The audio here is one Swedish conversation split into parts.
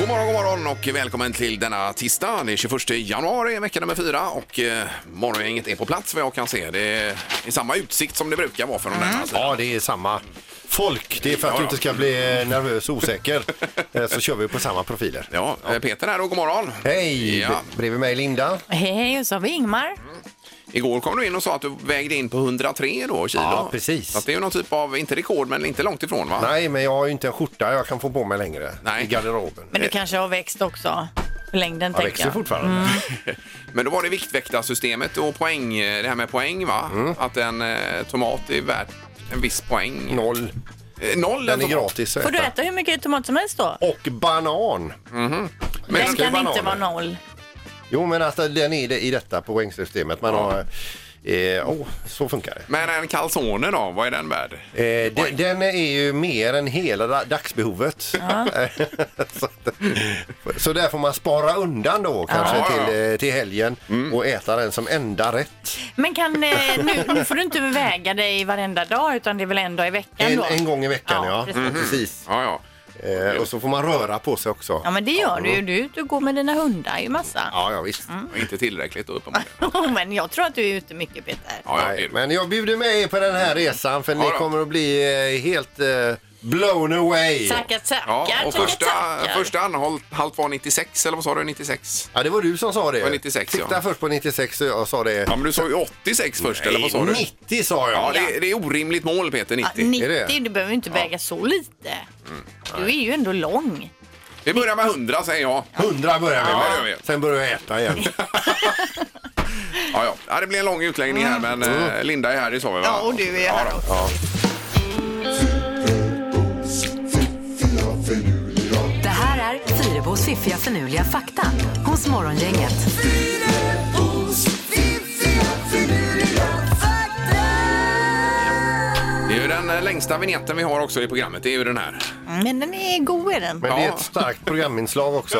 God morgon, god morgon och välkommen till denna tisdag. Det är 21 januari, vecka nummer fyra och eh, morgongänget är på plats vad jag kan se. Det är i samma utsikt som det brukar vara från den här sidan. Ja, det är samma folk. Det är för att Ja, ja. du inte ska bli nervös och osäker. Eh, Så kör vi på samma profiler. Ja, eh, Peter här och god morgon. Hej! Ja. Bredvid mig Linda. Hej, hej, och så har vi Ingmar. Igår kom du in och sa att du vägde in på 103 då, kilo. Ja, precis. Så att det är ju någon typ av, inte rekord, men inte långt ifrån va? Nej, men jag har ju inte en skjorta jag kan få på mig längre Nej. i garderoben. Men du kanske har växt också? Längden Jag tänker växer jag. Mm. fortfarande. Men då var det viktväktarsystemet och poäng, eh, det här med poäng va? Mm. Att en eh, tomat är värd en viss poäng. Noll. Eh, Noll Den en är tomat. gratis att Får du äta. äta hur mycket tomat som helst då? Och banan. Men Den ska ju kan inte vara bananer. noll. Jo, men alltså den är det i detta poängsystemet. Man har... Eh, oh, så funkar det. Men en calzone då, vad är den värd? Eh, de- den är ju mer än hela da- dagsbehovet. så, att- så där får man spara undan då kanske Ja, Mm. ja, ja. Till, eh, till helgen och äta den som enda rätt. Men kan, eh, nu, nu får du inte väga dig varenda dag utan det är väl en dag i veckan En, då? en gång i veckan Ja, ja. precis. Mm, precis. Ja, ja. Eh, och så får man röra på sig också. Ja men det gör du ju. Du är ute och går med dina hundar ju massa. Ja, ja visst. Inte tillräckligt då uppenbarligen. men jag tror att du är ute mycket Peter. Ja, ja, det Nej, är det. men jag bjuder med er på den här resan för Ja ni då. kommer att bli eh, helt eh, blown away. Tackar, tackar, ja, och tackar, första, tackar. första anhalt var 96, eller vad sa du? 96? Ja, det var du som sa det. var 96, ja. Titta först på 96 och jag sa det. Ja, men du sa ju 86 först, eller vad sa du? 90 sa jag. Ja, det, det är orimligt mål, Peter, Ja, 90. 90, Är det? du behöver ju inte väga så lite. Du är ju ändå lång. Vi börjar med 100, säger jag. 100 börjar vi Ja, med. det gör vi. Sen börjar jag äta igen. Ja, ja. ja det blir en lång utläggning här, men eh, Linda är här, det sa vi va? Mm. Ja, och du är Ja, här då. också. Det här är Fyrabos fiffiga förnuliga fakta hos Morgongänget. Det är ju den eh, längsta vignetten vi har också i programmet, det är ju den här. Mm, Men den är god är den. Men det är Ja. ett starkt programinslag också.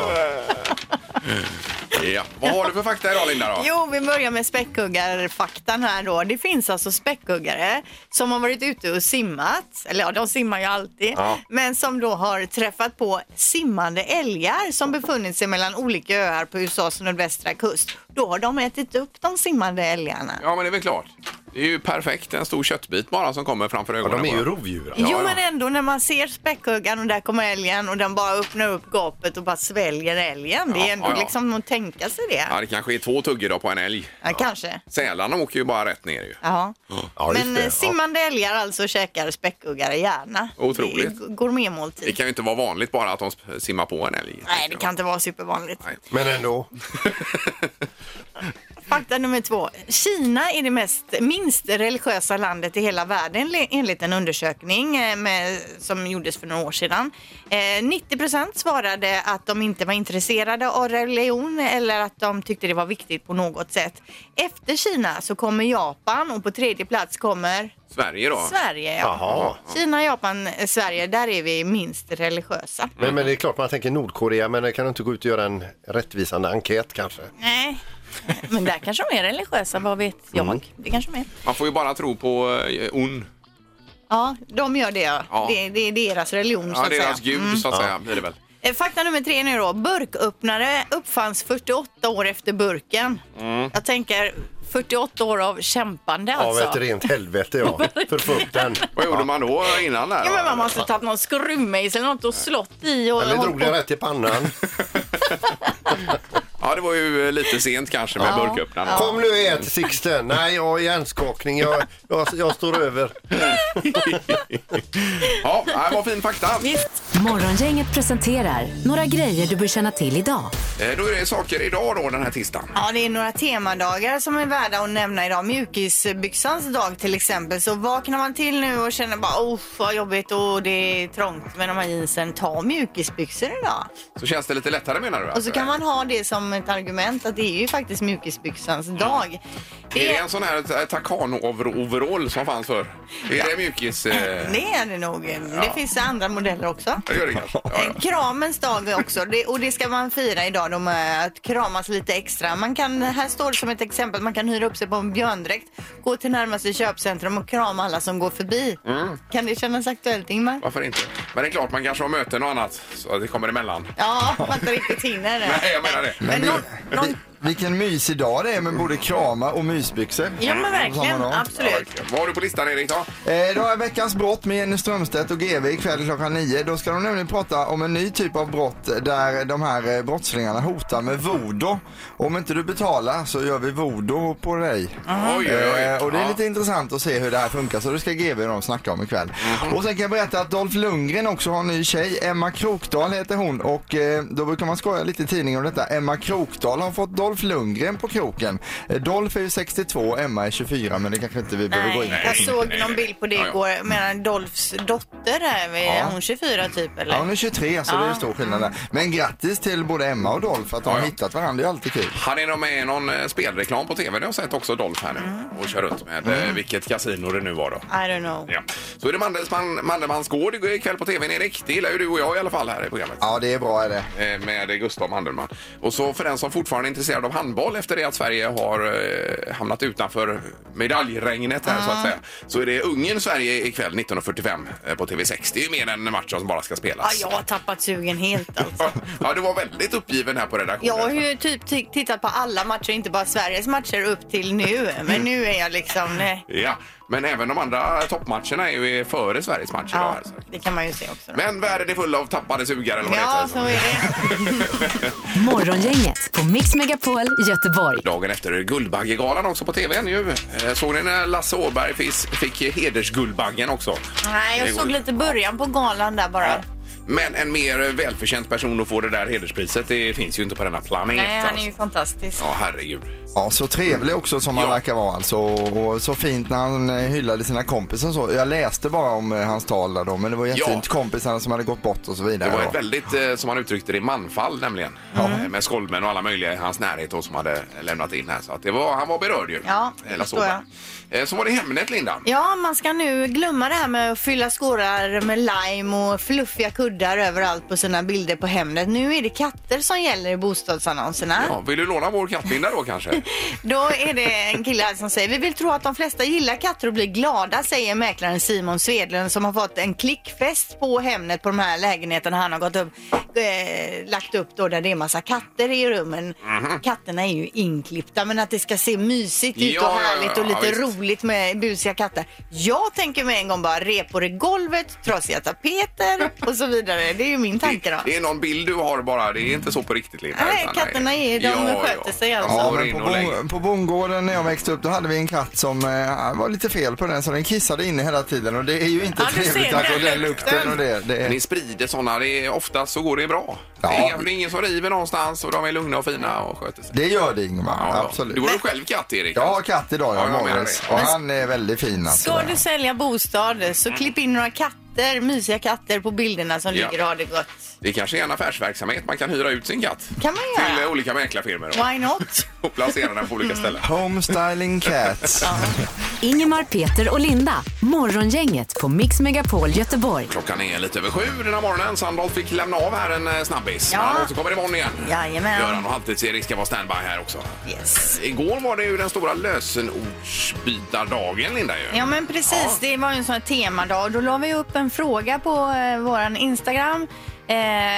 Ja. Vad har du för fakta idag, Linda? Då? Jo, vi börjar med späckhuggarfaktan här då. Det finns alltså späckhuggare som har varit ute och simmat, eller ja, de simmar ju alltid, Ja. men som då har träffat på simmande älgar som befunnit sig mellan olika öar på USAs nordvästra kust. Då har de ätit upp de simmande älgarna. Ja, men det är väl klart. Det är ju perfekt, en stor köttbit bara som kommer framför Ja, ögonen. de är ju på en. rovdjur. alltså. Jo ja. men ändå när man ser späckhuggaren och där kommer älgen och den bara öppnar upp gapet och bara sväljer älgen. Det Ja, är ändå ja, ja. liksom att tänka sig det. Ja, Ja, det kanske är två tugg idag på en älg. kanske. Sälarna åker ju bara rätt ner ju. Ja. Ja, just Men det. eh, simmande älgar alltså käkar späckhuggare gärna. Otroligt. Det är gourmetmåltid. Det kan ju inte vara vanligt bara att de sp- simmar på en älg. Nej, det kan inte vara supervanligt. Nej. Ja. Men ändå. Fakta nummer två. Kina är det mest, minst religiösa landet i hela världen le- enligt en undersökning eh, med, som gjordes för några år sedan. Eh, 90 procent svarade att de inte var intresserade av religion eller att de tyckte det var viktigt på något sätt. Efter Kina så kommer Japan och på tredje plats kommer Sverige då? Sverige. Jaha. Kina, Japan, eh, Sverige, där är vi minst religiösa. Men, men det är klart man tänker Nordkorea, men det kan du inte gå ut och göra en rättvisande enkät kanske? Nej. Men där kanske de är religiösa, vad vet jag? Mm. Det kanske de är. Man får ju bara tro på eh, on. Ja, de gör det. Ja. Ja. Det, det är deras religion så Ja, att deras säga. Mm. gud så att säga blir det väl. Eh, Fakta nummer tre nu då. Burköppnare uppfanns 48 år efter burken. Mm. Jag tänker 48 år av kämpande Av ett alltså. rent helvete ja, för fukten. Vad gjorde man då innan där? Ja, men man va? måste tagit någon skruvmejsel eller något och slått i och Eller hållit drog på. det rätt i pannan. Ja, det var ju eh, lite sent kanske med burköppnarna. Kom nu och ät Sixten. Nej, jag har hjärnskakning. Jag, jag, jag står över. Ja, det var fin fakta. Morgongänget presenterar några grejer du bör känna till idag. Eh, Då är det saker idag då, den här tisdagen. Ja, det är några temadagar som är värda att nämna idag. Mjukisbyxans dag till exempel. Så vaknar man till nu och känner bara oh, vad jobbigt och det är trångt med de här jeansen. Ta mjukisbyxor idag. Så känns det lite lättare menar du? alltså? Och så kan man ha det som ett argument att det är ju faktiskt mjukisbyxans dag. Är Det det är, en sån här eh, Takano-overall som fanns förr? Är det mjukis? eh, det är det nog. Det finns andra modeller också. det gör det kanske. Ja, ja. Eh, Kramens dag också det, och det ska man fira idag de, eh, att kramas lite extra. Man kan, här står det som ett exempel, man kan hyra upp sig på en björndräkt, gå till närmaste köpcentrum och krama alla som går förbi. Mm. Kan det kännas aktuellt Ingmar? Varför inte? Men det är klart, man kanske har möten och annat så att det kommer emellan. Ja, man inte riktigt hinner. Nej, jag menar det. Men någon, någon, Vilken mysig dag det är med både krama och mysbyxor. ja men verkligen, Samma dag. absolut. Vad har du på listan Erik då? Eh, då är veckans brott med Jenny Strömstedt och GV ikväll klockan nio. Då ska de nämligen prata om en ny typ av brott där de här eh, brottslingarna hotar med voodoo. Om inte du betalar så gör vi voodoo på dig. Oj, oj, oj. Eh, och det är Ja. lite intressant att se hur det här funkar så det ska GV och de snacka om ikväll. Mm. Och sen kan jag berätta att Dolph Lundgren också har en ny tjej. Emma Krokdahl heter hon och eh, då brukar man skoja lite i tidningen om detta. Emma Krokdahl har fått Dolph Lundgren på kroken. Eh, Dolph är ju 62 och Emma är 24 men det kanske inte vi behöver gå in Nej, på. jag såg någon bild på det Ja, ja. igår. Medan Dolphs dotter är, väl- är hon 24 typ eller? Ja, hon är 23 så det är Ja. ju stor skillnad där. Men grattis till både Emma och Dolph för att de har Ja, ja. hittat varandra. Det är alltid kul. Han är nog med i någon eh, spelreklam på tv. Det har jag sett också Dolph här nu och kör runt med Mm. eh, vilket kasino det nu var då. I don't know. Ja. Så är det Mandelsman, Mandelmanns gård ikväll på tvn Erik. Det gillar ju du och jag i alla fall här i programmet. Ja, det är bra är det. Eh, Med Gustav Mandelmann. Och så för den som fortfarande är intresserad av handboll efter det att Sverige har eh, hamnat utanför medaljregnet här så att säga. Så är det Ungern-Sverige ikväll 1945 eh, på TV6. Det är ju mer än en match som bara ska Ja, spelas. jag har tappat sugen helt alltså. ja, du var väldigt uppgiven här på redaktionen. Jag har ju typ t- tittat på alla matcher, inte bara Sveriges matcher upp till nu. Men nu är jag liksom, nej. Ja, men även de andra toppmatcherna är ju före Sveriges matcher. då, Ja, alltså. det kan man ju se också. Då. Men världen är full av tappade sugar eller vad det Ja, heter. så är det. Morgongänget på Mix Megapol i Göteborg. Dagen efter är Guldbaggegalan också på tv nu. Eh, Såg ni när Lasse Åberg fick, fick hedersguldbaggen också? Nej, Det jag går såg ju. lite början på galan där bara. Men en mer välförtjänt person att få det där hederspriset, det finns ju inte på denna planet. Nej, han är ju alltså. fantastisk. Ja, herregud. Ja, så trevlig också som han Ja. verkar vara alltså. Och och så fint när han eh, hyllade sina kompisar och så. Jag läste bara om eh, hans tal där då, men det var jättefint. Ja. Kompisarna som hade gått bort och så vidare. Det var då. ett väldigt, eh, som han uttryckte det, manfall nämligen. Eh, Med skolmen och alla möjliga i hans närhet då, som hade lämnat in här. Så att det var, han var berörd ju. Ja, det Eh, Lasse förstår Åberg. Eh, Så var det Hemnet, Linda. Ja, man ska nu glömma det här med att fylla skålar med lime och fluffiga kuddar överallt på sina bilder på Hemnet. Nu är det katter som gäller i bostadsannonserna. Ja, vill du låna vår kattbinda då kanske? Då är det en kille här som säger Vi vill tro att de flesta gillar katter och blir glada säger mäklaren Simon Svedlund som har fått en klickfest på Hemnet på de här lägenheterna han har gått upp, eh, lagt upp då där det är massa katter i rummen. Mhm. Katterna är ju inklippta men att det ska se mysigt ut Ja, och ja, ja, härligt och ja, lite visst. roligt med busiga katter. Jag tänker med en gång bara repor i golvet, trasiga tapeter och så vidare. Det är ju min tanke då. Det, det är någon bild du har bara, det är inte så på riktigt Linda. Nej, utan- katterna är- de sköter sig alltså. Ja, Går men in på, och lägger- bon, på bondgården när jag växte upp då hade vi en katt som eh, var lite fel på den så den kissade inne hela tiden och det är ju inte Ja, du trevligt ser alltså, den den lukten och det. det Men är... Ni sprider sådana, det är, oftast så går det bra. Ja. Det, är, det är ingen som river någonstans och de är lugna och fina och sköter sig. Det gör det Ingmar, Ja, ja. absolut. Du har ju själv katt Erik. Jag har katt idag, Ja, jag jag menar Morris. det. Och han är väldigt fin alltså. Ska du sälja bostad så klipp in några katter, mysiga katter på bilderna som Ja. ligger och har det gott. Det kanske är en affärsverksamhet, man kan hyra ut sin katt. Kan man göra. Till eh, olika mäklarfirmor och, Why Mm. not? och placera den på olika ställen. Home styling cats. Ingemar, Peter och Linda. Morgongänget på Mix Megapol Göteborg. Klockan är lite över sju den här morgonen. Sandolf fick lämna av här en eh, snabbis. Ja. Men han återkommer imorgon igen. Jajamän. Göran och Halvtids-Erik ska vara standby här också. Yes. Igår var det ju den stora lösenordsbytardagen Linda ju. Ja men precis, det var ju en sån här temadag. Då la vi upp en fråga på eh, våran Instagram Eh,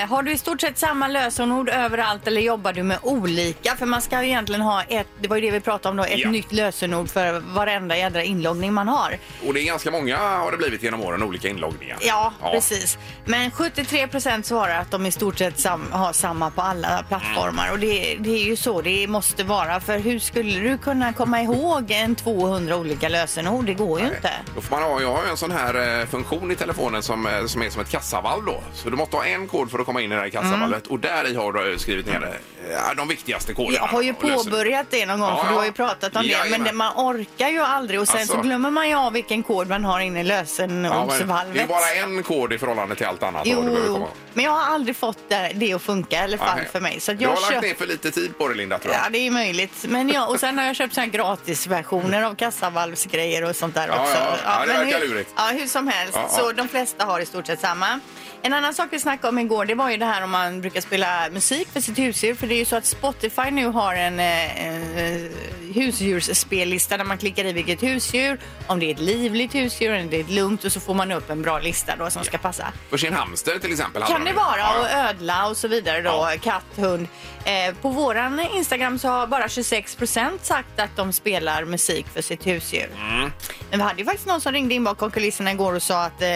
har du i stort sett samma lösenord överallt eller jobbar du med olika? För man ska ju egentligen ha ett, det var ju det vi pratade om då, ett Ja. nytt lösenord för varenda jädra inloggning man har. Och det är ganska många har det blivit genom åren, olika inloggningar. Ja, precis. Men 73 procent svarar att de i stort sett sam- har samma på alla plattformar. Och det, det är ju så det måste vara. För hur skulle du kunna komma ihåg en 200 olika lösenord? Det går ju inte. Då får man ha, jag har ju en sån här eh, funktion i telefonen som, eh, som är som ett kassavalv då. Så du måste ha en kod för att komma in i det här kassavalvet och där i har du skrivit ner eh, de viktigaste koderna. Mm. Jag har ju och lösenord. påbörjat det någon gång, Ja, för du ja. har ju pratat om det. Men Jajamän. det, man orkar ju aldrig och sen Alltså. så glömmer man ju av vilken kod man har inne i Ja, men lösenordsvalvet. det är bara en kod i förhållande till allt annat. då Jo, du behöver komma jo, ihåg. men jag har aldrig fått det, det att funka i alla fall Nej. för mig. Så att du har jag lagt köper... ner för lite tid på det, Linda, tror jag. Ja, det är möjligt. Men ja, och sen har jag köpt såna här gratisversioner av kassavalvsgrejer och sånt där Ja, också. ja, ja, det men verkar hur, lurigt. Ja, hur som helst. Ja, ja. Så de flesta har i stort sett samma. En annan sak vi snackade om igår, det var ju det här om man brukar spela musik för sitt husdjur. För det är ju så att Spotify nu har en, eh, en husdjursspellista där man klickar i vilket husdjur, om det är ett livligt husdjur eller det är ett lugnt och så får man upp en bra lista då som ska passa. För sin hamster till exempel. hade Kan de det ju. vara Ja, och ödla och så vidare då, Ja. katt, hund. Eh, på våran Instagram så har bara 26 procent sagt att de spelar musik för sitt husdjur. Mm. Men vi hade ju faktiskt någon som ringde in bakom kulisserna igår och sa att eh,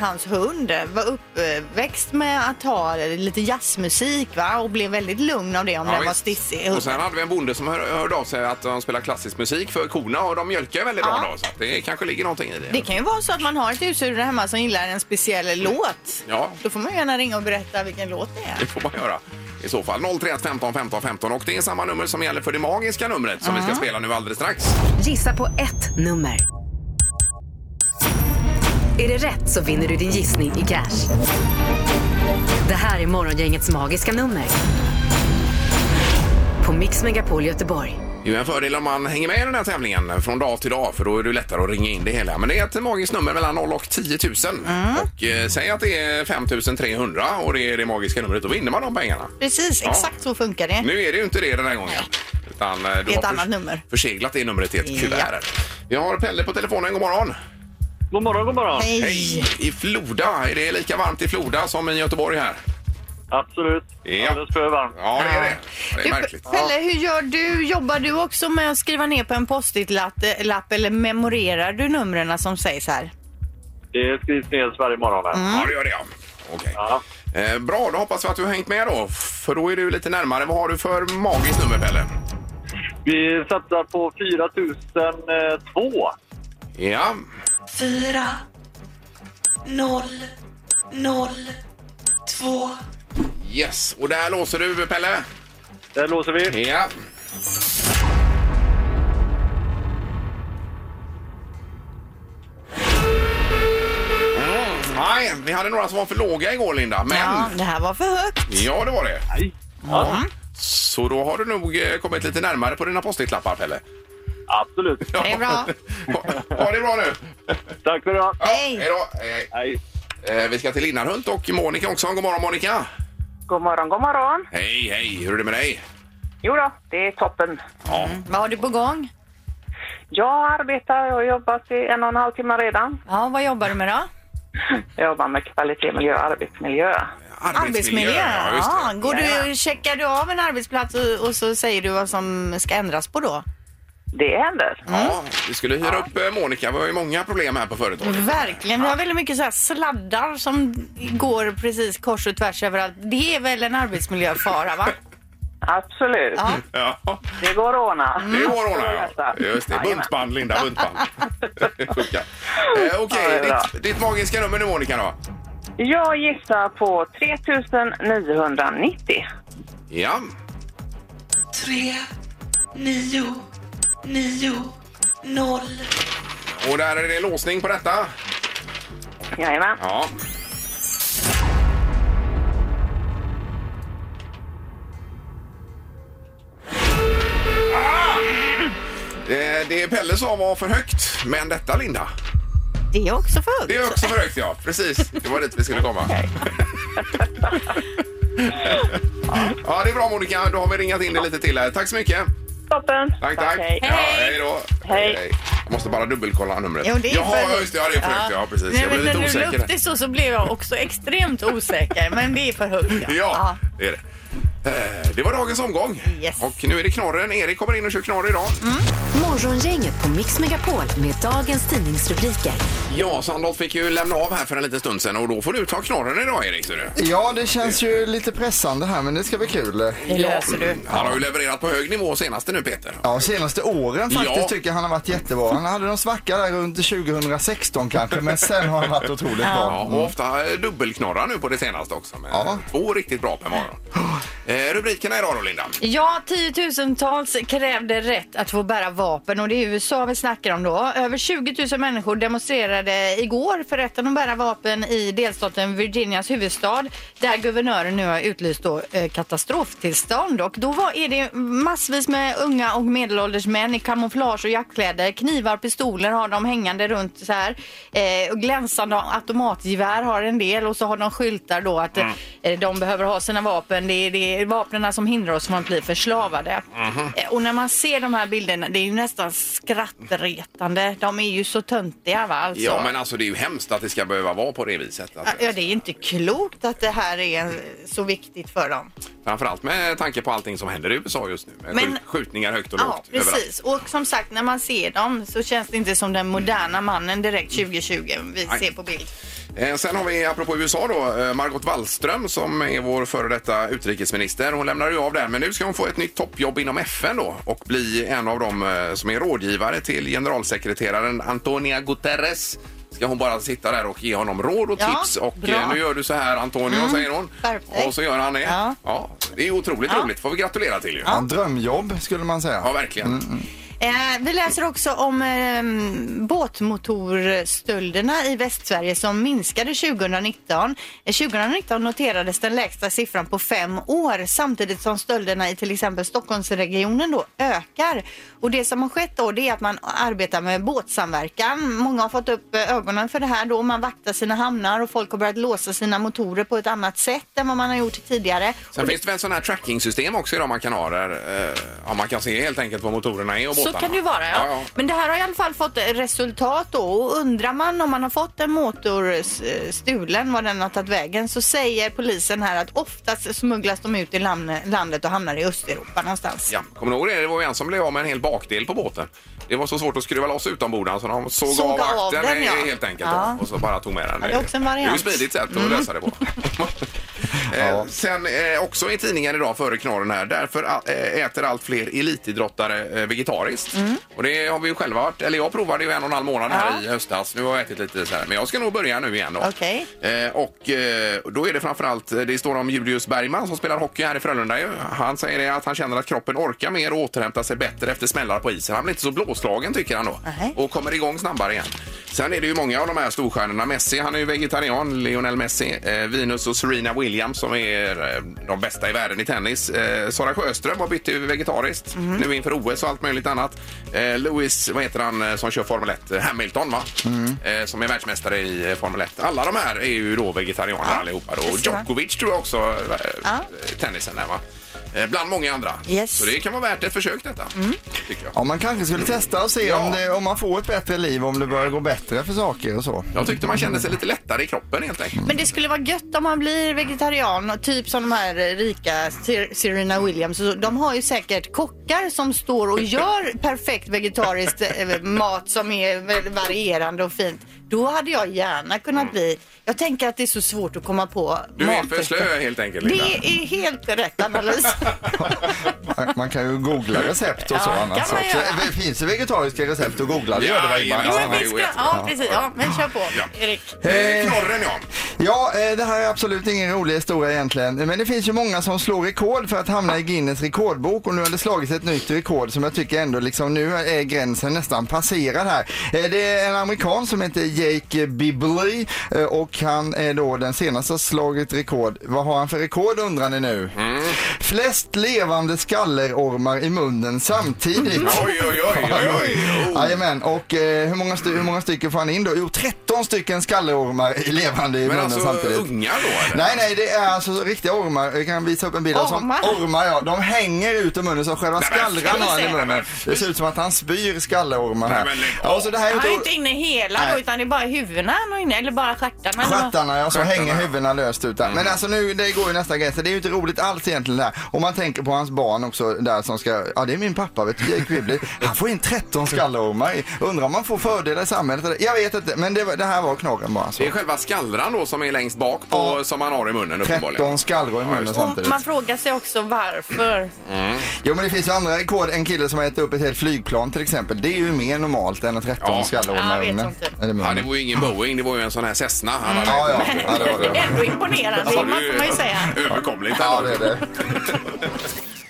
hans hund var uppväxt med att ha lite jazzmusik va? och blev väldigt lugn av det om ja, den var visst. stissig. Och sen hade vi en bonde som hör, hörde av sig att de spelar klassisk musik för korna och de mjölkar väldigt bra Ja. då. Så att det kanske ligger någonting i det. Det kan ju vara så att man har ett husdjur där hemma som gillar en speciell låt. Mm. Ja. Då får man gärna ringa och berätta vilken låt det är. Det får man göra. I så fall 031 15 15 15 och det är samma nummer som gäller för det magiska numret som vi ska spela nu alldeles strax. Gissa på ett nummer. Är det rätt så vinner du din gissning i cash. Det här är Morgongängets magiska nummer. På Mix Megapol Göteborg. Det är ju en fördel om man hänger med i den här tävlingen från dag till dag för då är det lättare att ringa in det hela. Men det är ett magiskt nummer mellan 0 och 10 000 och eh, säg att det är 5 300 och det är det magiska numret, då vinner man de pengarna. Precis, Ja. exakt så funkar det. Nu är det ju inte det den här gången. Utan eh, du Det är ett annat nummer. förseglat det numret i ett Ja. kuvert. här. Vi har Pelle på telefonen, god morgon. God morgon, god morgon. Hej! I Floda, är det lika varmt i Floda som i Göteborg här? Absolut. Ja. Alldeles för varmt. Ja, det är det. Det är Du, märkligt. Pelle, hur gör du? Jobbar du också med att skriva ner på en post-it-lapp eh, lapp, eller memorerar du numren som sägs här? Det skrivs ner varje morgon. Här. Mm. Ja, det gör det ja. Okej. Ja. Eh, bra, då hoppas vi att du har hängt med då. För då är du lite närmare. Vad har du för magiskt nummer, Pelle? Vi satsar på eh, 4002. Ja. fyra noll noll två Yes, och där låser du, Pelle. Där låser vi. Ja. Mm, Nej, vi hade några som var för låga igår, Linda. Men... Ja, Ja, det här var för högt. det var det. Nej. Ja. Så då har du nog eh, kommit lite närmare på dina postitlappar, Pelle. Absolut. Det är bra. Ha, ha det bra nu. Tack för idag. Ja, Hej. Hej då. Hej. Hej. Eh, Vi ska till Linnarhult och Monica också. God morgon Monica! God morgon, god morgon. Hej, hej! Hur är det med dig? Jo då, det är toppen. Ja, Vad har du på gång? Jag arbetar, jag har jobbat i en och en halv timme redan. Ja, vad jobbar du med då? Jag jobbar med kvalitet, miljö och arbetsmiljö. Ja, just Ja, det. går du, checkar du av en arbetsplats och, och så säger du vad som ska ändras på då? Det händer. Ja, vi skulle hyra upp eh, Monica. Vi har ju många problem här på företaget. Verkligen. Vi har väldigt mycket så här sladdar som går precis kors och tvärs överallt. Det är väl en arbetsmiljöfara, va? Absolut. Ja. Ja, Det går att ordna. det går att ordna. Ja. Absolut. Just det, Jajamän. buntband Linda, buntband. Det funkar. eh, Okej, det är bra. ditt, ditt magiska nummer nu Monica då? Jag gissar på 3990. Ja, Tre, nio, nio, noll. och där är det låsning på detta. Jajamän. Ja. Ah! Eh, Det Pelle sa var för högt, men detta Linda, Det är också för högt. det är också för högt ja. Precis, det var dit vi skulle komma. Ja, det är bra Monica, då har vi ringat in dig lite till här. Tack så mycket. Toppen. Tack, tack. hej. Ja, hej då. Hej. Jag måste bara dubbelkolla numret. Jo, det är Jaha, för- just det. Ja, det är för högt. Ja, precis. Nej, jag blev men lite när du la upp osäker. det så, så blev jag också extremt osäker. Men det är för högt. Ja, det är det. Eh, Det var dagens omgång. Yes. Mm. Och nu är det knorren. Erik kommer in och kör knorr idag. Morgongänget på Mix Megapol med dagens tidningsrubriker. Ja, Sandholt fick ju lämna av här för en liten stund sedan och då får du ta knorren idag Erik. ser du. Ja, det känns ju lite pressande här, men det ska bli kul. Det löser du. Han har ju levererat på hög nivå senaste nu Peter. Ja, senaste åren faktiskt Ja. tycker jag han har varit jättebra. Han hade någon svacka där runt 2016 kanske, men sen har han varit otroligt bra. Ja, och ofta eh, dubbelknorrar nu på det senaste också. Men Ja. Två riktigt bra per morgon. Eh, rubrikerna idag då Linda? Ja, tiotusentals krävde rätt att få bära vapen och det är USA vi snackar om då. Över 20 000 människor demonstrerade igår för rätten att bära vapen i delstaten Virginias huvudstad där guvernören nu har utlyst då, eh, katastroftillstånd. Och då var, är det massvis med unga och medelålders män i kamouflage och jaktkläder. Knivar och pistoler har de hängande runt så här. Eh, och glänsande automatgevär har en del och så har de skyltar då att Mm. eh, de behöver ha sina vapen. Det är, det är vapnen som hindrar oss från att bli förslavade. Mhm. Eh, och när man ser de här bilderna, det är ju nästan skrattretande. De är ju så töntiga va alltså. Ja, men alltså det är ju hemskt att det ska behöva vara på det viset. Att, Ja, det är inte klokt att det här är så viktigt för dem. Framförallt med tanke på allting som händer i USA just nu. Med Men- skjut- skjutningar högt och Ja, lågt. överallt. precis. Och som sagt, när man ser dem så känns det inte som den moderna mannen direkt 2020 vi Mm. Nej. ser på bild. Eh, Sen har vi, apropå USA då, eh, Margot Wallström som är vår före detta utrikesminister. Hon lämnar ju av där, men nu ska hon få ett nytt toppjobb inom FN då och bli en av dem eh, som är rådgivare till generalsekreteraren Antonia Guterres. Ska hon bara sitta där och ge honom råd och Ja, tips och bra. Mm, eh, nu gör du så här Antonio, säger hon. skärp dig. Och så gör han det. Ja. Ja. det är otroligt roligt, får vi gratulera till ju. Ja, Ja, drömjobb skulle man säga. verkligen. Eh, vi läser också om eh, båtmotorstölderna i Västsverige som minskade 2019. Eh, 2019 noterades den lägsta siffran på fem år samtidigt som stölderna i till exempel Stockholmsregionen då ökar. Och det som har skett då det är att man arbetar med båtsamverkan. Många har fått upp eh, ögonen för det här då. Man vaktar sina hamnar och folk har börjat låsa sina motorer på ett annat sätt än vad man har gjort tidigare. Sen finns det väl sådana här tracking-system också idag man kan ha där eh, ja, man kan se helt enkelt vad motorerna är och båtarna. Så kan det ju vara. Ja. ja. Men det här har i alla fall fått eh, resultat då. Och undrar man om man har fått en motor eh, stulen, var den har tagit vägen, så säger polisen här att oftast smugglas de ut i lam- landet och hamnar i Östeuropa någonstans. Ja, kommer du ihåg det? Det var ju en som blev av med en hel bakdel på båten. Det var så svårt att skruva loss utombordan så de såg, Såg av av akten den, ja. eh, helt enkelt Ja. och så bara tog med den. Ja, det är också en variant. Mm. Det är ju ett smidigt sätt att lösa det på. Eh, Sen eh, också i tidningen idag före knorren här. Därför eh, äter allt fler elitidrottare eh, vegetariskt. Mm. Och det har vi ju själva varit. Eller jag provade ju en och en halv månad här i höstas. Nu har jag ätit lite så här. Men jag ska nog börja nu igen då. Okej. Eh, och eh, då är det framförallt, eh, det står om Julius Bergman som spelar hockey här i Frölunda. ju. Han säger det att han känner att kroppen orkar mer och återhämtar sig bättre efter smällar på isen. Han blir inte så blåslagen tycker han då. Nej. Och kommer igång snabbare igen. Sen är det ju många av de här storstjärnorna. Messi, han är ju vegetarian. Lionel Messi, eh, Venus och Serena Williams som är eh, de bästa i världen i tennis. Eh, Sara Sjöström har bytt till vegetariskt Mhm. nu inför OS och allt möjligt annat. Eh, Lewis, vad heter han eh, som kör Formel 1? Eh, Hamilton va? Mm. Eh, som är världsmästare i eh, Formel 1. Alla de här är ju då vegetarianer allihopa. Då. Och precis, va? Djokovic tror jag också, eh, Ja. tennisen där va? Eh, Bland många andra. Yes. Mm. Så det kan vara värt ett försök detta. Tycker jag. Ja, man kanske skulle testa och se Ja. om, det, om man får ett bättre liv, om det börjar gå bättre för saker och så. Jag tyckte man kände sig lite lättare i kroppen helt enkelt. Men det skulle vara gött om man blir vegetarian, och typ som de här eh, rika Ser- Serena Williams. Så De har ju säkert kockar som står och gör perfekt vegetariskt eh, mat som är väl varierande och fint. Då hade jag gärna kunnat bli... Jag tänker att det är så svårt att komma på Du är maträtter. för slö helt enkelt Linda. Det är helt rätt analys. Man, man kan ju googla recept och så Ja, annars kan man också. göra. Det finns ju vegetariska recept och googla, det gör det väl Ja, Ingmar? ja, Ja. men vi ska- ja, precis. Ja, men kör på, Erik. Eh, Knorren ja. Ja, eh, det här är absolut ingen rolig historia egentligen. Men det finns ju många som slår rekord för att hamna i Guinness rekordbok och nu har det slagits ett nytt rekord som jag tycker ändå liksom nu är gränsen nästan passerad här. Eh, Det är en amerikan som heter Jake Bibli eh, och han är då den senaste slagit rekord. Vad har han för rekord undrar ni nu? Mm. Flest levande skallerormar i munnen samtidigt. Oj, oj, oj, oj, oj. Jajamän, och eh, hur, många sty- hur många stycken får han in då? Jo, 13 stycken skallerormar i levande i Men munnen alltså samtidigt. ungar då? Eller? Nej, nej, det är alltså riktiga ormar. Jag kan visa upp en bild. Alltså, Ormar? ormar, ja. De hänger ut ur munnen så själva Nej, men skallran har han i fy. munnen. Det ser ut som att han spyr skallerormar här. Nej, men lägg av. Ja, så det här är Han är inte... inte inne hela då, Nej. utan det är bara huvudena han har inne, eller bara stjärtarna. eller vad? Stjärtarna, ja, så hänger huvudena löst ut där. Mm. Men alltså nu, det går ju nästa grej, så det är ju inte roligt alls egentligen det här. Om man tänker på hans barn också där som ska, ja det är min pappa vet du, Jake Quibley. Han får in 13 skallerormar. i. Undrar om man får fördelar i samhället eller? Jag vet inte, men det, var- det här var knorren bara. Så. Det är själva skallran då som är längst bak på, Ja. som man har i munnen uppenbarligen. 13 skallror i munnen Och samtidigt. man frågar sig också varför. Jo men det finns ju andra rekord. En kille som har ätit upp ett helt flygplan till exempel. Det är ju mer normalt än att 13 Ja. skallerormar Ja, i vet munnen. jag inte. Eller munnen. Ja, det var ju ingen Boeing, det var ju en sån här Cessna. Han hade Ja, ja. ja, det Alltså, var Det det. är ändå imponerande, Ja, man det är får man ju säga. Överkomligt. Ja, det är det.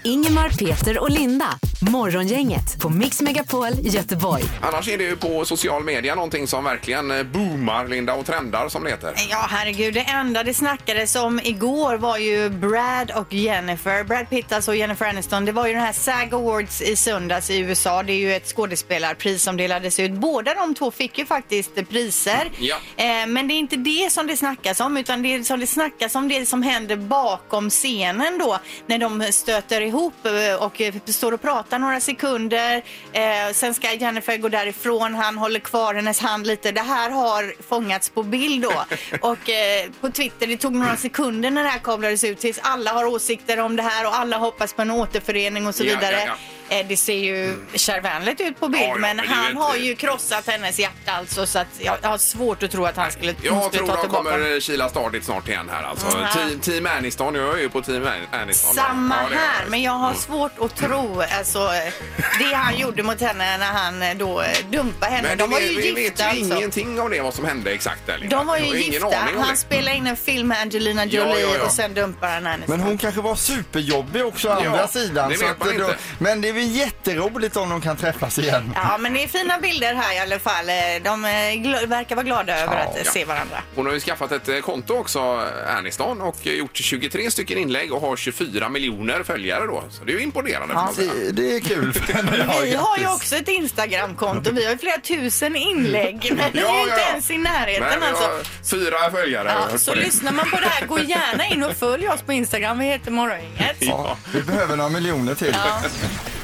Ingemar, Peter och Linda. Morgongänget på Mix Megapol i Göteborg. Annars är det ju på social media någonting som verkligen eh, boomar, Linda, och trendar som det heter. Ja, herregud. Det enda det snackades om igår var ju Brad och Jennifer. Brad Pitt alltså och Jennifer Aniston. Det var ju den här SAG Awards i söndags i USA. Det är ju ett skådespelarpris som delades ut. Båda de två fick ju faktiskt priser. Ja. Eh, men det är inte det som det snackas om, utan det som det snackas om det som händer bakom scenen då när de stöter ihop eh, och eh, står och pratar några sekunder. Eh, sen ska Jennifer gå därifrån, han håller kvar hennes hand lite. Det här har fångats på bild då. Och eh, på Twitter, det tog några sekunder när det här kablades ut tills alla har åsikter om det här och alla hoppas på en återförening och så Ja, ja, vidare. Eh, Det ser ju kärvänligt ut på bild, Ja, ja, men men det är ju han inte- har ju krossat hennes hjärta alltså så att jag, jag har svårt att tro att han skulle, hon Jag skulle tror ta de tillbaka honom. kommer eh, kila stadigt snart igen här alltså. Ja. Team, team Aniston, jag är ju på Team An- Aniston. Samma Ja, det Mm. är jag. här, men jag har svårt att tro alltså, eh, det han gjorde mot henne när han eh, då eh, dumpade henne. Men de det- var ju vi vet ju gifta alltså. ingenting om det, vad som hände exakt där, Linda. De var Jag har ju ingen gifta. aning om Han det. spelade in en film med Angelina Ja, Jolie ja, ja. och sen dumpade han henne. Men hon kanske var superjobbig också å Ja, andra sidan. det så vet att man det inte. men det är väl jätteroligt om de kan träffas igen. Ja, men det är fina bilder här i alla fall. Eh, De eh, gl- verkar vara glada över att eh, ja. se varandra. Hon har ju skaffat ett eh, konto också, Aniston, och gjort 23 stycken inlägg och har 24 miljoner följare då. Så det är ju imponerande. får man säga. Det, det är kul för henne. Ja, Vi har ju grattis. också ett Instagramkonto. Vi har ju flera tusen inlägg. Men vi Ja, är ju ja, inte ja. ens i närheten. Nej, vi har alltså. Fyra följare. Jag har ja, hört så på det. lyssnar man på det här, gå gärna in och följ oss på Instagram. Vi heter Morgongänget. Ja, vi behöver några miljoner till.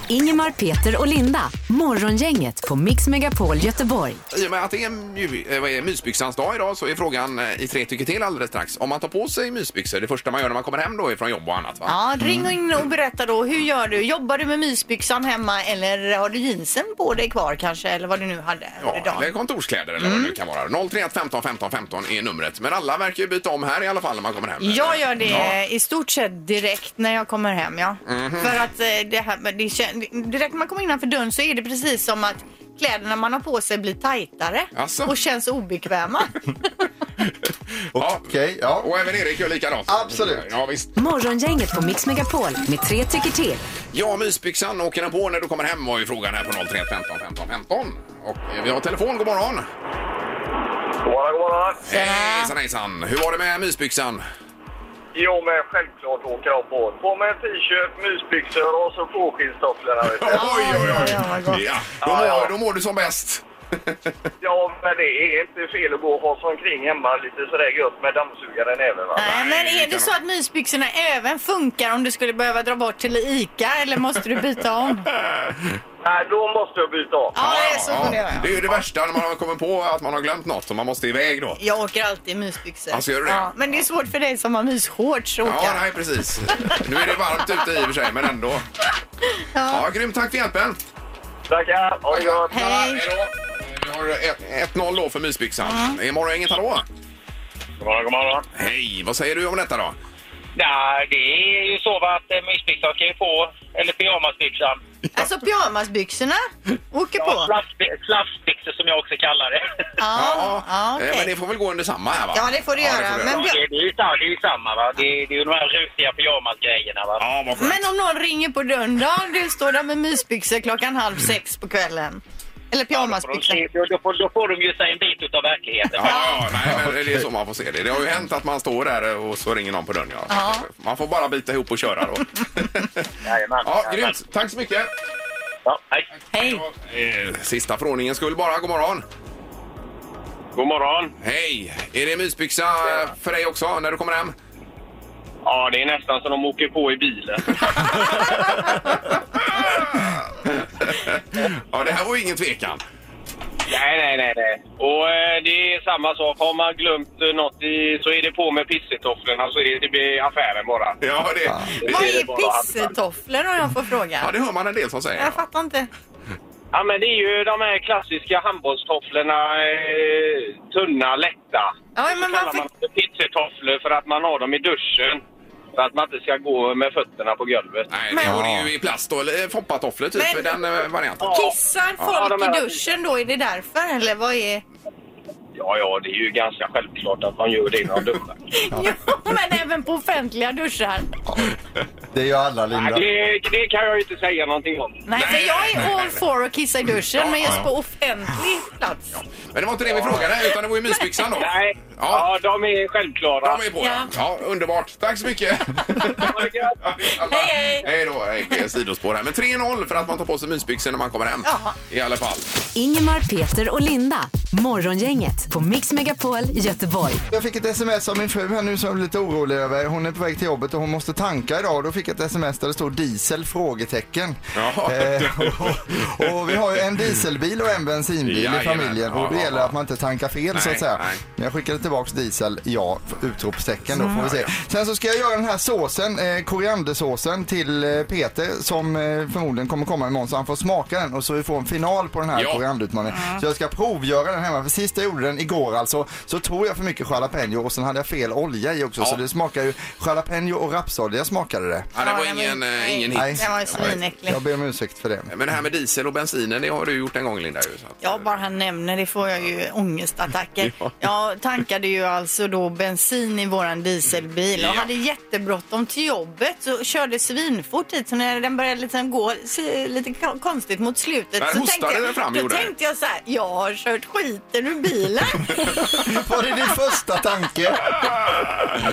Ingemar, Peter och Linda. Morgongänget på Mix Megapol Göteborg. I och med att det är, mju- eh, vad är det, mysbyxans dag idag så är frågan eh, i tre tycker till alldeles strax. Om man tar på sig mysbyxor, det första man gör när man kommer hem då är från jobb och annat va? Ja, ring in och berätta då. Hur gör du? Jobbar du med mysbyxan hemma eller har du jeansen på dig kvar kanske? Eller vad du nu hade under Ja, dagen. eller kontorskläder eller vad det nu kan vara. 031 15 15 15 är numret. Men alla verkar ju byta om här i alla fall när man kommer hem. Jag gör det i stort sett direkt när jag kommer hem. Ja. Mhm. För att eh, det här, det, kän- direkt när man kommer innanför dörren så är det precis som att kläderna man har på sig blir tajtare Asså? och känns obekväma. Ja. Okej, ja. Och även Erik gör likadant. Absolut. Ja, visst. Morgongänget på Mix Megapol med tre tycker till. Ja, mysbyxan åker den på när du kommer hem var ju frågan här på 031 15 15 15. Och eh, vi har telefon, god morgon. God morgon, god morgon. Hejsan hejsan. Hur var det med mysbyxan? Jo, men självklart åker jag på. På med en t-shirt, mysbyxor och så fårskinnstofflorna. vet du. ja, vad gott. Ja, då, Ja, ja. mår, då mår du som bäst. Ja, men det är inte fel att gå och hasa omkring hemma lite sådär gött med dammsugaren även. Va? Nej, men det är det kan så att mysbyxorna även funkar om du skulle behöva dra bort till ICA eller måste du byta om? Nej, då måste jag byta av. Ja, det är så funderar Det jag. är ju det värsta när man har kommit på att man har glömt något och man måste iväg då. Jag åker alltid i mysbyxor. Alltså, gör du det? Ja, men det är svårt för dig som har myshorts att åka. Ja, nej precis. Nu är det varmt ute i och för sig, men ändå. Ja, grymt. Tack för hjälpen. Tackar, ha det gött. Hej! då. Vi har ett- 1-0 då för Mm. mysbyxan. Imorgon inget hallå? God morgon, god morgon. Hej, vad säger du om detta då? Nej, det är ju så va, att eh, mysbyxan ska ju på, eller pyjamasbyxan. Alltså pyjamasbyxorna åker Ja, på. slafsby- Slafsbyxor som jag också kallar det. Ja, ja eh, okej. Men det får väl gå under samma här va? Ja, det får det göra, men- Ja, det, det, är ju, sa- det är ju samma va. Det, det är ju de här rutiga pyjamasgrejerna va. Ja, vad skönt. Men om någon ringer på dörren då? Du står där med mysbyxor klockan halv sex på kvällen. Eller pyjamasbyxor. Ja, då, får de se- då, får, då får de ju sig en bit av verkligheten. Ja, ja, nej, men det är så man får se det. Det har ju hänt att man står där och så ringer någon på dörren. Ja. Ja. Man får bara bita ihop och köra då. ja, grymt. Tack så mycket. Ja, hej. Hej. Eh, Sista förordningen skulle bara. God morgon. God morgon. Hej. Är det mysbyxa eh, för dig också när du kommer hem? Ja, det är nästan som de åker på i bilen. ja, det här var ju ingen tvekan. Nej, nej, nej. nej. Och eh, det är samma sak. Har man glömt eh, något i, så är det på med pissetofflorna så är det, det blir affären bara. Ja, det, Vad är pissetofflor om jag får fråga? Ja, det hör man en del som säger. Jag fattar inte. Ja, men det är ju de här klassiska handbollstofflorna. Eh, tunna, lätta. Ja, men så kallar man det pizzetofflor för att man har dem i duschen. För att man inte ska gå med fötterna på golvet. Nej, det var det ju i plast då, eller foppatofflor typ, Men- den eh, varianten. Kissar Ja, folk de är- i duschen då? Är det därför eller vad är... Ja, ja, det är ju ganska självklart att man gör det när man duschar. Ja, men även på offentliga duschar. Det gör alla, Nej, Linda. det, det kan jag ju inte säga någonting om. Nej, för jag är all for att kissa i duschen, men just på offentlig plats. Men det var inte det vi frågade, utan det var ju mysbyxan då. Nej, Ja. ja. de är självklara. De är på ja. ja. Underbart. Tack så mycket. Hej, hej! Hej då. Hej, sidospår här. Men 3-0 för att man tar på sig mysbyxor när man kommer hem. Ja. I alla fall. Ingemar, Peter och Linda. Morgongänget på Mix Megapol Göteborg. Jag fick ett sms av min fru här nu som jag blev lite orolig över. Hon är på väg till jobbet och hon måste tanka idag. Då fick jag ett sms där det stod diesel? Frågetecken. Eh, Jaha. och, och vi har ju en dieselbil och en bensinbil i Jajamän. familjen Ja, och det ja, gäller ja. att man inte tankar fel så Nej, att säga. nej. Men jag skickade tillbaks diesel, ja, utropstecken då får vi se. Sen så ska jag göra den här såsen, eh, koriandersåsen till eh, Peter som eh, förmodligen kommer komma imorgon så han får smaka den och så vi får en final på den här Ja. korianderutmaningen. Så jag ska provgöra den hemma för sist jag gjorde den igår alltså så tog jag för mycket jalapeno och sen hade jag fel olja i också Ja. så det smakar ju jalapeno och rapsolja smakade det. Ja, det var Ja, men- ingen, eh, ingen hit. Nej. Den var ju svinäcklig. Jag ber om ursäkt för det. Men det här med diesel och bensinen, det har du gjort en gång Linda. Ju, så att, Ja, bara han nämner det får jag ju ångestattacker. Ja. Jag tankade ju alltså då bensin i våran dieselbil och Ja. hade jättebråttom till jobbet så körde svinfort hit. Så när den började liksom gå se, lite ko- konstigt mot slutet Där så hostade tänkte, den jag, fram, då gjorde den. tänkte jag så här, jag har kört skiten ur bilen. Var det din första tanke? eh,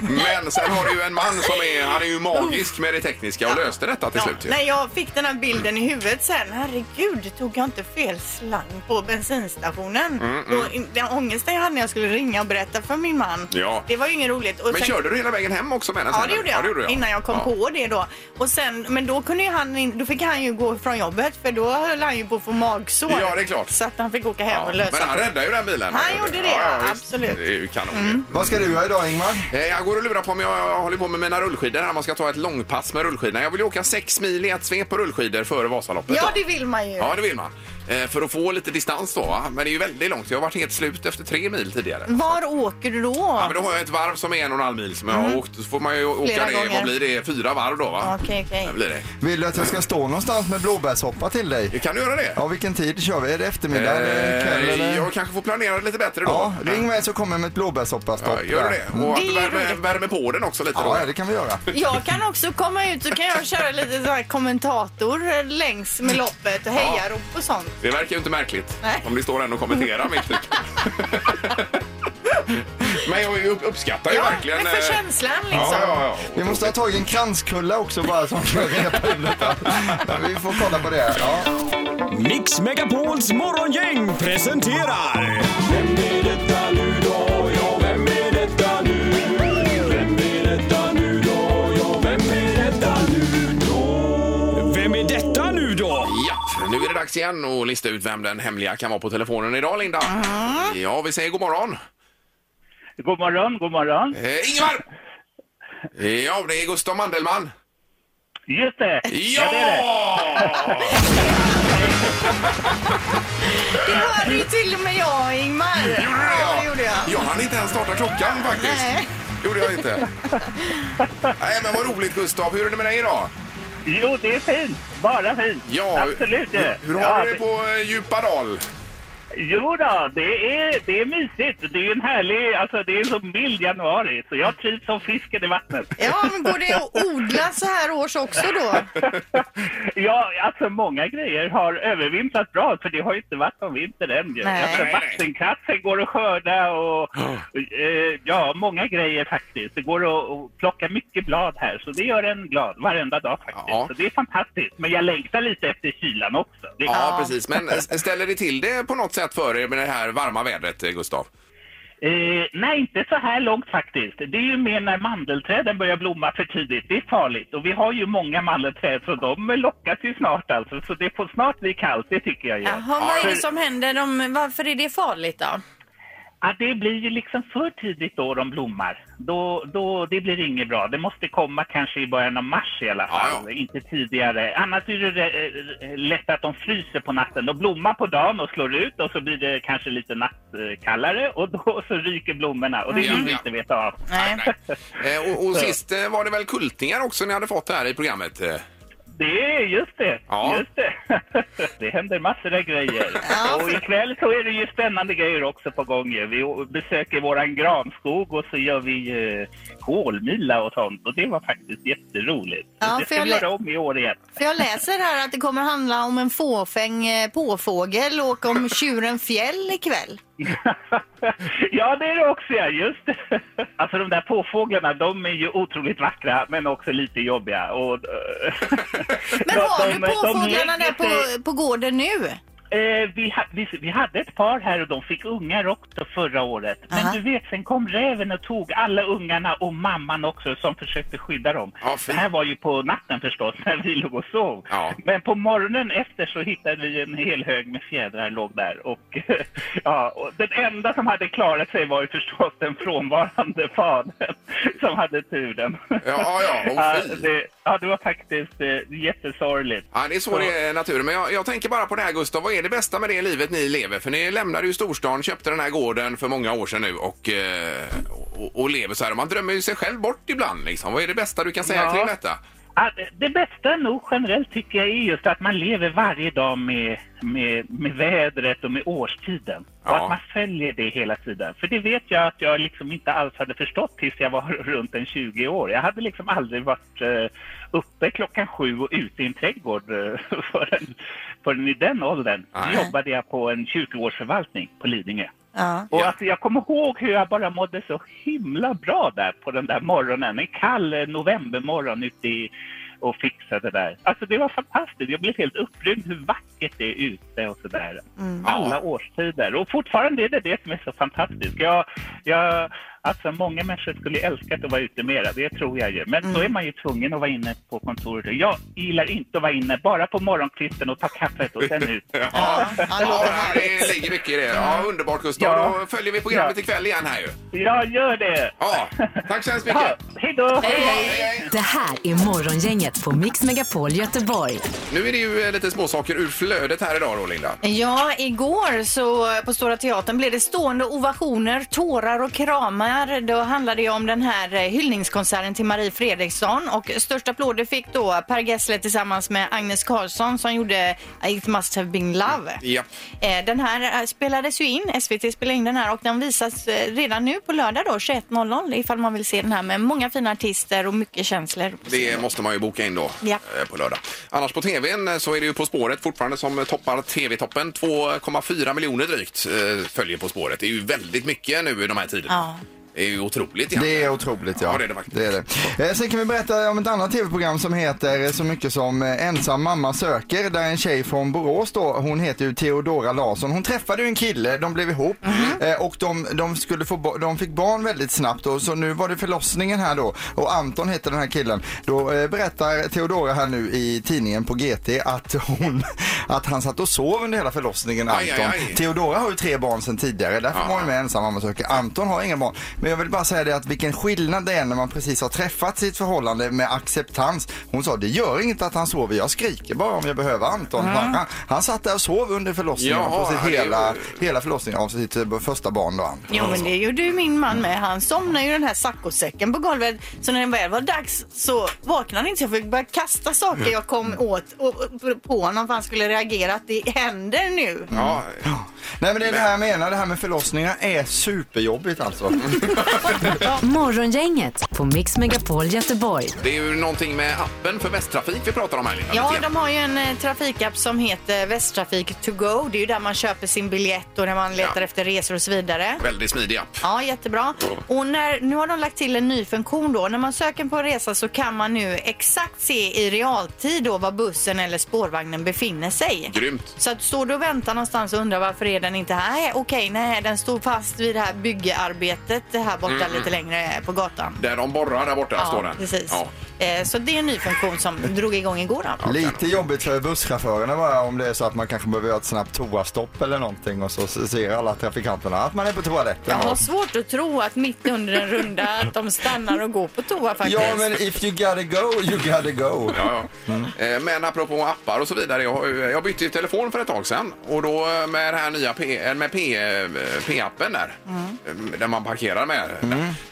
Men sen har du ju en man som är, han är ju magisk med det tekniska och löste detta till Ja, slut. ju. när jag fick den här bilden i huvudet sen, herregud, tog jag inte fel slang på bensinstationen? Mm, Och in- den ångesten jag hade när jag skulle ringa och berätta för min man, Ja. det var ju inget roligt. Och Men sen- körde du hela vägen hem också med den Ja sen, det eller? gjorde jag, innan jag kom Ja. på det då. Och sen, men då, kunde ju han in, då fick han ju gå från jobbet för då höll han ju på att få magsår. Ja, det är klart. Så att han fick åka hem Ja, och lösa men han räddade ju den bilen. Han gjorde det, ja, visst. absolut. Mm. Det är ju kanon. ju. Vad ska du göra idag Ingmar? Eh, Jag går och lurar på om jag håller på med mina rullskidor här. Man ska ta ett långpass med rullskidorna. Jag vill ju åka sex mil i ett svep på rullskidor före Vasaloppet. Ja det vill man ju. Ja, det vill man. Eh, För att få lite distans då. va? Men det är ju väldigt långt. Jag har varit helt slut efter tre mil tidigare. Var åker du då? Ja, men då har jag ett varv som är en och en halv mil som jag har åkt. Så får man ju åka Mm. Flera det, vad gånger. blir det, fyra varv då va? Okej, okej. Det blir det. Vill du att jag ska stå någonstans med blåbärssoppa till dig? Kan du göra det? Ja, vilken tid kör vi? Är det eftermiddag eller kväll? Eh, Eller? jag kanske får planera det lite bättre då. Ja, ring mig så kommer jag med ett blåbärssoppastopp. Ja, gör det. Och att Det är du värmer, roligt. värmer på den också lite då. Ja, det kan vi göra. Jag kan också komma ut så kan jag köra lite så här kommentator längs med loppet och hejarop och sånt. Det verkar ju inte märkligt Nej. om det står en och kommenterar mitt i. Men jag upp- uppskattar ju Ja, verkligen... men för eh, känslan liksom. Ja, ja, ja. Vi måste ha tagit en kranskulla också bara som repundet. Vi får kolla på det. Ja. Mix Megapols morgongäng presenterar... Vem är detta nu då? Ja, vem är detta nu? Vem är detta nu då? Ja, vem är detta nu då? Vem är detta nu då? Japp, nu är det dags igen att lista ut vem den hemliga kan vara på telefonen idag, Linda. Mm. Ja, vi säger god morgon. God morgon, god morgon. Eh, Ingvar! Ja, det är Gustav Mandelmann. Just det! Ja! Det hörde ju till och med jag Ingmar. Gjorde Ja, det gjorde jag. Jag hann inte ens starta klockan faktiskt. Nej. gjorde jag inte. Nej, men vad roligt Gustav. Hur är det med dig idag? Jo, det är fint. Bara fint. Ja, hur- Hur, hur har du det på eh, Djupadal? Jo då, det är, det är mysigt. Det är en härlig, alltså det är en sån mild januari. Så jag trivs som fisken i vattnet. Ja, men går det att odla så här års också då? Ja, alltså många grejer har övervintrat bra för det har ju inte varit någon vinter än. ju. Nej. Alltså, Nej, nej. vattenkratten går att skörda och eh, ja, många grejer faktiskt. Det går att, att plocka mycket blad här så det gör en glad varenda dag faktiskt. Så det är fantastiskt. Men jag längtar lite efter kylan också. Det- Ja, precis. Men eh, s- ställer det till det på något sätt för er med det här varma vädret, eh, Gustav? Eh, nej, inte så här långt faktiskt. Det är ju mer när mandelträden börjar blomma för tidigt. Det är farligt. Och vi har ju många mandelträd så de lockas ju snart alltså. Så det får snart bli kallt, det tycker jag ju. Jaha, vad är det som händer? De, varför är det farligt då? Ja, det blir ju liksom för tidigt då de blommar. Då, då, det blir inget bra. Det måste komma kanske i början av mars i alla fall, inte tidigare. Annars är det eh, eh, lätt att de fryser på natten. De blommar på dagen och slår ut och så blir det kanske lite nattkallare och då så ryker blommorna och det vill vi inte veta av. Eh, och och Så. sist eh, var det väl kultingar också ni hade fått här i programmet? eh? Det är just det. Ja. Just det. det händer massor av grejer. Och ikväll så är det ju spännande grejer också på gång. ju. Vi å- besöker våran granskog och så gör vi eh, kolmila och sånt. Och det var faktiskt jätteroligt. Ja, för det ska jag vi lä- göra om i år igen. För jag läser här att det kommer handla om en fåfäng eh, påfågel och om tjuren fjäll ikväll. Ja, det är det också, ja. Just det. Alltså de där påfåglarna, de är ju otroligt vackra men också lite jobbiga. Och, eh, Men har du påfåglarna där på, på gården nu? Eh, vi, ha, vi, vi hade ett par här och de fick ungar också förra året. Men du vet, sen kom räven och tog alla ungarna och mamman också som försökte skydda dem. det här var ju på natten förstås när vi låg och sov. Men på morgonen efter så hittade vi en hel hög med fjädrar låg där. Och, ja, och den enda som hade klarat sig var ju förstås den frånvarande fadern som hade turen. Ja, ja, och fy. det, ja det var faktiskt eh, jättesorgligt. Ja, det är så det är i naturen. Men jag, jag tänker bara på det här Gustav, vad är det bästa med det livet ni lever? För ni lämnade ju storstan, köpte den här gården för många år sedan nu och, eh, och, och lever så här. Man drömmer ju sig själv bort ibland liksom. Vad är det bästa du kan säga Ja. kring detta? Ja, det- det bästa nog generellt tycker jag är just att man lever varje dag med, med, med vädret och med årstiden. Och Ja. att man följer det hela tiden. För det vet jag att jag liksom inte alls hade förstått tills jag var runt en 20 år. Jag hade liksom aldrig varit eh, uppe klockan sju och ute i en trädgård eh, förrän, förrän i den åldern. Då jobbade jag på en kyrkogårdsförvaltning på Lidingö. Och alltså, jag kommer ihåg hur jag bara mådde så himla bra där på den där morgonen. En kall eh, novembermorgon ute i, och fixade där. Alltså det var fantastiskt. Jag blev helt upprymd hur vackert det är ute och sådär. Mm. Alla årstider. Och fortfarande är det det som är så fantastiskt. Jag, jag, alltså många människor skulle älska att vara ute mera, det tror jag ju. Men då är man ju tvungen att vara inne på kontoret. Jag gillar inte att vara inne bara på morgonkvisten och ta kaffet och sen ut. Ja, ja, det ligger mycket i det. Ja, underbart Gustav. Ja. Då följer vi programmet Ja. ikväll igen här ju. Ja, gör det! Ja, tack så hemskt mycket. Eh, hej då! Det här är Morgongänget på Mix Megapol Göteborg. Nu är det ju eh, lite småsaker ur flödet här idag då, Linda. Ja, igår så eh, på Stora Teatern blev det stående ovationer, tårar och kramar. Då handlade det om den här eh, hyllningskonserten till Marie Fredriksson och största applåder fick då Per Gessle tillsammans med Agnes Karlsson som gjorde It must have been love. Ja. Eh, Den här eh, spelades ju in, SVT spelade in den här och den visas eh, redan nu på lördag då 21.00 ifall man vill se den här med många fina artister och mycket känslor. Det måste man ju boka in då Ja. eh, på lördag. Annars på tvn eh, så är det ju På spåret fortfarande som eh, toppar tv-toppen. 2,4 miljoner drygt eh, följer På spåret. Det är ju väldigt mycket nu i de här tiderna. Det är ju otroligt egentligen. Det är otroligt, ja. Ja, det är det faktiskt. det är det. Eh, Sen kan vi berätta om ett annat tv-program som heter eh, så mycket som eh, Ensam mamma söker, där en tjej från Borås då, hon heter ju Theodora Larsson, hon träffade ju en kille, de blev ihop Mhm. eh, och de, de, skulle få, ba- de fick barn väldigt snabbt och så nu var det förlossningen här då och Anton heter den här killen. Då eh, berättar Theodora här nu i tidningen på GT att, hon, att han satt och sov under hela förlossningen, Anton. Aj, aj, aj. Theodora har ju tre barn sedan tidigare, därför var hon med ensam mamma söker. Anton har inga barn. Men jag vill bara säga det att vilken skillnad det är när man precis har träffat sitt förhållande med acceptans. Hon sa det gör inget att han sover, jag skriker bara om jag behöver Anton. Mm. Han, han, han satt där och sov under förlossningen, Jaha, på ja, sitt det är- hela, hela förlossningen av sitt eh, första barn då Anton. Jo, Alltså. men det gjorde ju min man med. Han somnade ju i den här saccosäcken på golvet. Så när det väl var dags så vaknade han inte. Jag fick börja kasta saker jag kom åt och, och, på honom för han skulle reagera att det händer nu. Ja. Nej men det är det här jag menar, det här med förlossningar är superjobbigt alltså. Mm. Morgongänget på Mix Megapol Göteborg. Det är ju någonting med appen för Västtrafik vi pratar om här Linda. Ja, de har ju en eh, trafikapp som heter Västtrafik to go. Det är ju där man köper sin biljett och när man letar efter resor och så vidare. Väldigt smidig app. Ja, jättebra. Och när, nu har de lagt till en ny funktion då. När man söker på en resa så kan man nu exakt se i realtid då var bussen eller spårvagnen befinner sig. Grymt. Så att står du och väntar någonstans och undrar varför är den inte här? Okej, nej, den stod fast vid det här byggearbetet det här borta Mm. lite längre på gatan. Där de borrar där borta Ja, står den. precis. Ja. Eh, Så det är en ny funktion som drog igång igår då. Lite jobbigt för busschaufförerna bara om det är så att man kanske behöver göra ett snabbt toastopp eller någonting och så ser alla trafikanterna att man är på Jag toaletten. har svårt att tro att mitt under en runda att de stannar och går på toa faktiskt. Ja men if you gotta go, you gotta go. Ja, ja. Mm. Eh, Men apropå appar och så vidare. Jag, har ju- jag bytte ju telefon för ett tag sedan och då eh, med den här nya P- eh, med P- eh, P-appen där, Mm. eh, där man parkerar med.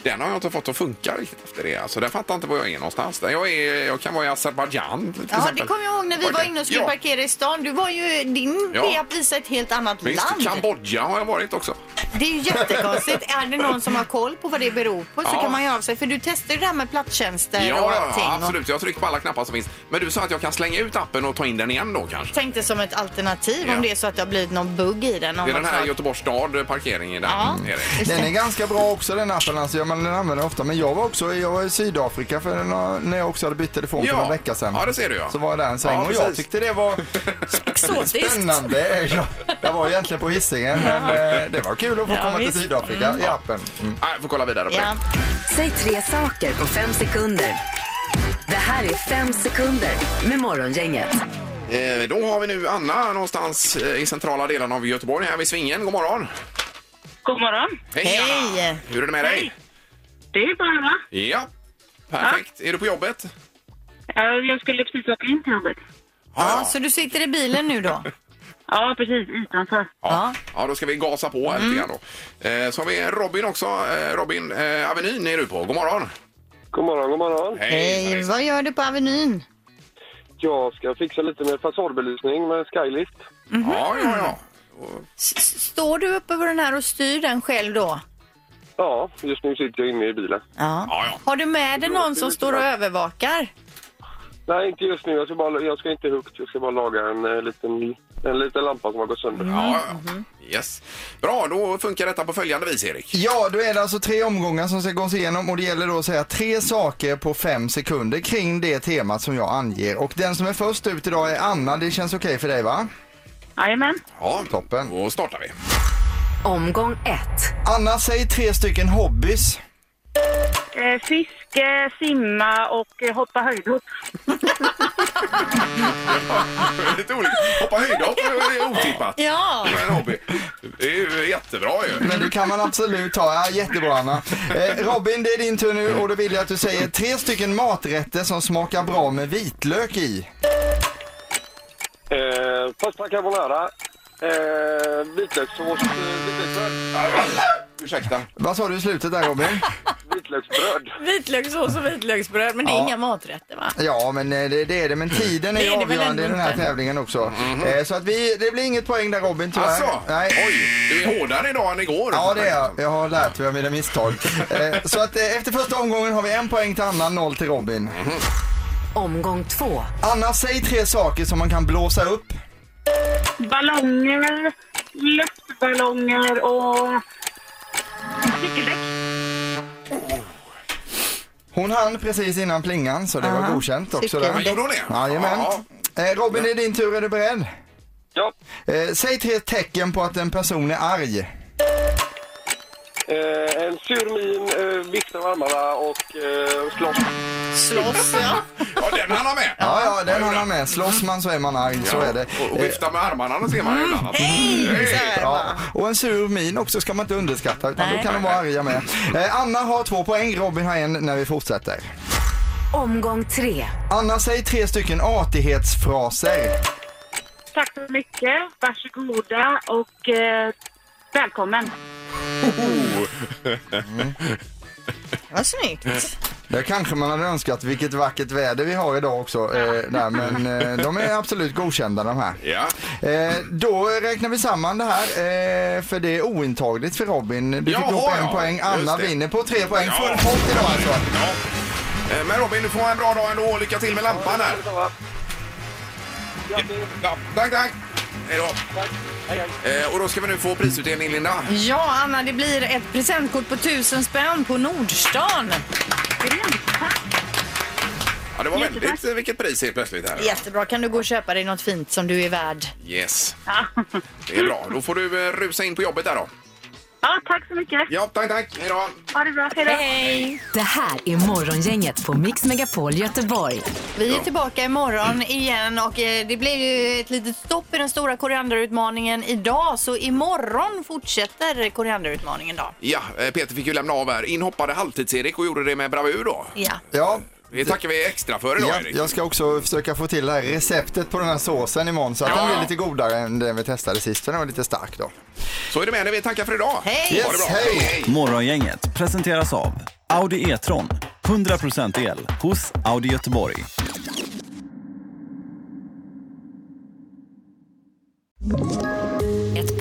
Den har jag inte fått att funka riktigt efter det. Alltså, den fattar inte var jag är någonstans. Där Jag, är, jag kan vara i Azerbajdzjan till Ja, exempel. det kommer jag ihåg när vi var inne och skulle Ja. parkera i stan. Du var ju, din Ja. p-app visade ett helt annat land. Visst, Kambodja har jag varit också. Det är ju jättekonstigt. är det någon som har koll på vad det beror på så Ja. kan man göra av sig. För du testar ju det här med platstjänster Ja, och ja, allting. ja, och absolut. Jag har tryckt på alla knappar som finns. Men du sa att jag kan slänga ut appen och ta in den igen då kanske? Tänkte som ett alternativ Ja. om det är så att det har blivit någon bugg i den. Det Om är den man här sa- Göteborgs stad parkeringen där. Ja. Är det. Den är ganska bra också den appen, alltså, ja, man använder den ofta. Men jag var också jag var i Sydafrika för några, när jag också hade bytt telefon för Ja. några vecka sedan. Ja, det ser du, ja. Så var jag där en sväng Ja, och jag precis. tyckte det var spännande. Jag, jag var egentligen på Hisingen men eh, det var kul att få Ja, komma till visst. Sydafrika Mm. i appen. Mm. Jag får kolla vidare på det. Säg tre saker på fem sekunder. Det här är fem sekunder med Morgongänget. Eh, Då har vi nu Anna någonstans eh, i centrala delen av Göteborg här vid Svingen. God morgon! God morgon. Hej, Anna! Hur är det med dig? Det är bra, va? Ja, perfekt. Är du på jobbet? Ja, Eh, Jag skulle precis åka in till jobbet. Ja, så du sitter i bilen nu då? ja, precis. Utanför. Ja. Ja, då ska vi gasa på här lite grann då. Eh, Så har vi Robin också. Eh, Robin eh, Avenyn är du på. God morgon! God morgon, god morgon. Hej, vad gör du på Avenyn? Jag ska fixa lite med fasadbelysning med skylift. Ja, ja, ja. S- Står du uppe på den här och styr den själv då? Ja, just nu sitter jag inne i bilen. Ja. Har du med dig någon som står och övervakar? Nej, inte just nu. Jag ska, bara, jag ska inte högt. Jag ska bara laga en eh, liten, en liten lampa som har gått sönder. Ja, Yes. Bra, då funkar detta på följande vis, Erik. Ja, då är det alltså tre omgångar som ska gås igenom och det gäller då att säga tre saker på fem sekunder kring det temat som jag anger. Och den som är först ut idag är Anna. Det känns okej för dig va? Jajamän. Ja, toppen. Då startar vi. Omgång ett. Anna, säg tre stycken hobbys. Eh, Fiske, simma och eh, hoppa höjdhopp. Lite olika. Hoppa höjdhopp är otippat. Ja. Det är en hobby. Det är ju jättebra ju. Men du kan man absolut ta. Ja, jättebra Anna. Eh, Robin, det är din tur nu och då vill jag att du säger tre stycken maträtter som smakar bra med vitlök i. Eh, pasta carbonara, eh, vitlökssås, eh, vitlöksbröd. Ursäkta. Vad sa du i slutet där Robin? Vitlöksbröd. Vitlökssås och vitlöksbröd, men det är Ja. inga maträtter va? Ja, men eh, det, det är det. Men tiden är, Det är det väl ändå avgörande i den här inte. Mhm. tävlingen också. Eh, Så att vi, det blir inget poäng där Robin tyvärr. Alltså, Nej. oj, du är hårdare idag än igår. Ja, det är jag. Jag har lärt mig av mina misstag. Eh, Så att eh, efter första omgången har vi en poäng till Anna, noll till Robin. Omgång två. Anna, säg tre saker som man kan blåsa upp. Ballonger, luftballonger och... Hon hann precis innan plingan, så det var godkänt också. Cykeldäck. Ja, gjorde hon det? Jajamän. Eh, Robin, det är din tur. Är du beredd? Ja. Eh, säg tre tecken på att en person är arg. Eh, en sur min, eh, vifta med armarna och eh, slåss. Slåss, ja. Ja, den hann han med. Ja, ja, den har man med. Slåss man så är man arg, så är det. Mm. Och vifta med armarna, då ser man ju ibland. att- Ja, och en sur min också ska man inte underskatta, utan då kan de vara arga med. Eh, Anna har två poäng, Robin har en när vi fortsätter. Omgång tre. Anna, säg tre stycken artighetsfraser. Tack så mycket. Varsågoda och eh, välkommen. Vad snyggt. Där kanske man hade önskat vilket vackert väder vi har idag också. Eh, där, men eh, de är absolut godkända de här. Ja. Eh, då räknar vi samman det här, eh, för det är ointagligt för Robin. Du fick Jaha, ihop en ja. poäng, Anna Just det. vinner på tre poäng. Ja. Full pott idag alltså. Eh, Men Robin, du får ha en bra dag ändå. Lycka till med lampan här. Ja, tack, tack. Hej då. Eh, Och då ska vi nu få prisutdelning, Linda. Ja, Anna, det blir ett presentkort på 1000 spänn på Nordstan. Ja, det var Jättetack. väldigt, eh, vilket pris helt plötsligt här. Jättebra. Kan du gå och köpa dig något fint som du är värd? Yes. Det är bra. Då får du eh, rusa in på jobbet där då. Ja, tack så mycket. Ja, tack, tack. Hej då. Ha det bra. Hej då. Det här är Morgongänget på Mix Megapol Göteborg. Vi är tillbaka imorgon igen och eh, det blev ju ett litet stopp i den stora korianderutmaningen idag. Så imorgon fortsätter korianderutmaningen då. Ja, eh, Peter fick ju lämna av här. Inhoppade halvtids-Erik och gjorde det med bravur då. Ja. Ja. Det tackar vi extra för idag, Ja, Erik. jag ska också försöka få till det här receptet på den här såsen imorgon så att den blir lite godare än den vi testade sist. för Den var lite stark då. Så är det med det. Vi tackar för idag. Hej! Yes, hej! Morgongänget presenteras av Audi E-tron. 100% el hos Audi Göteborg. Ett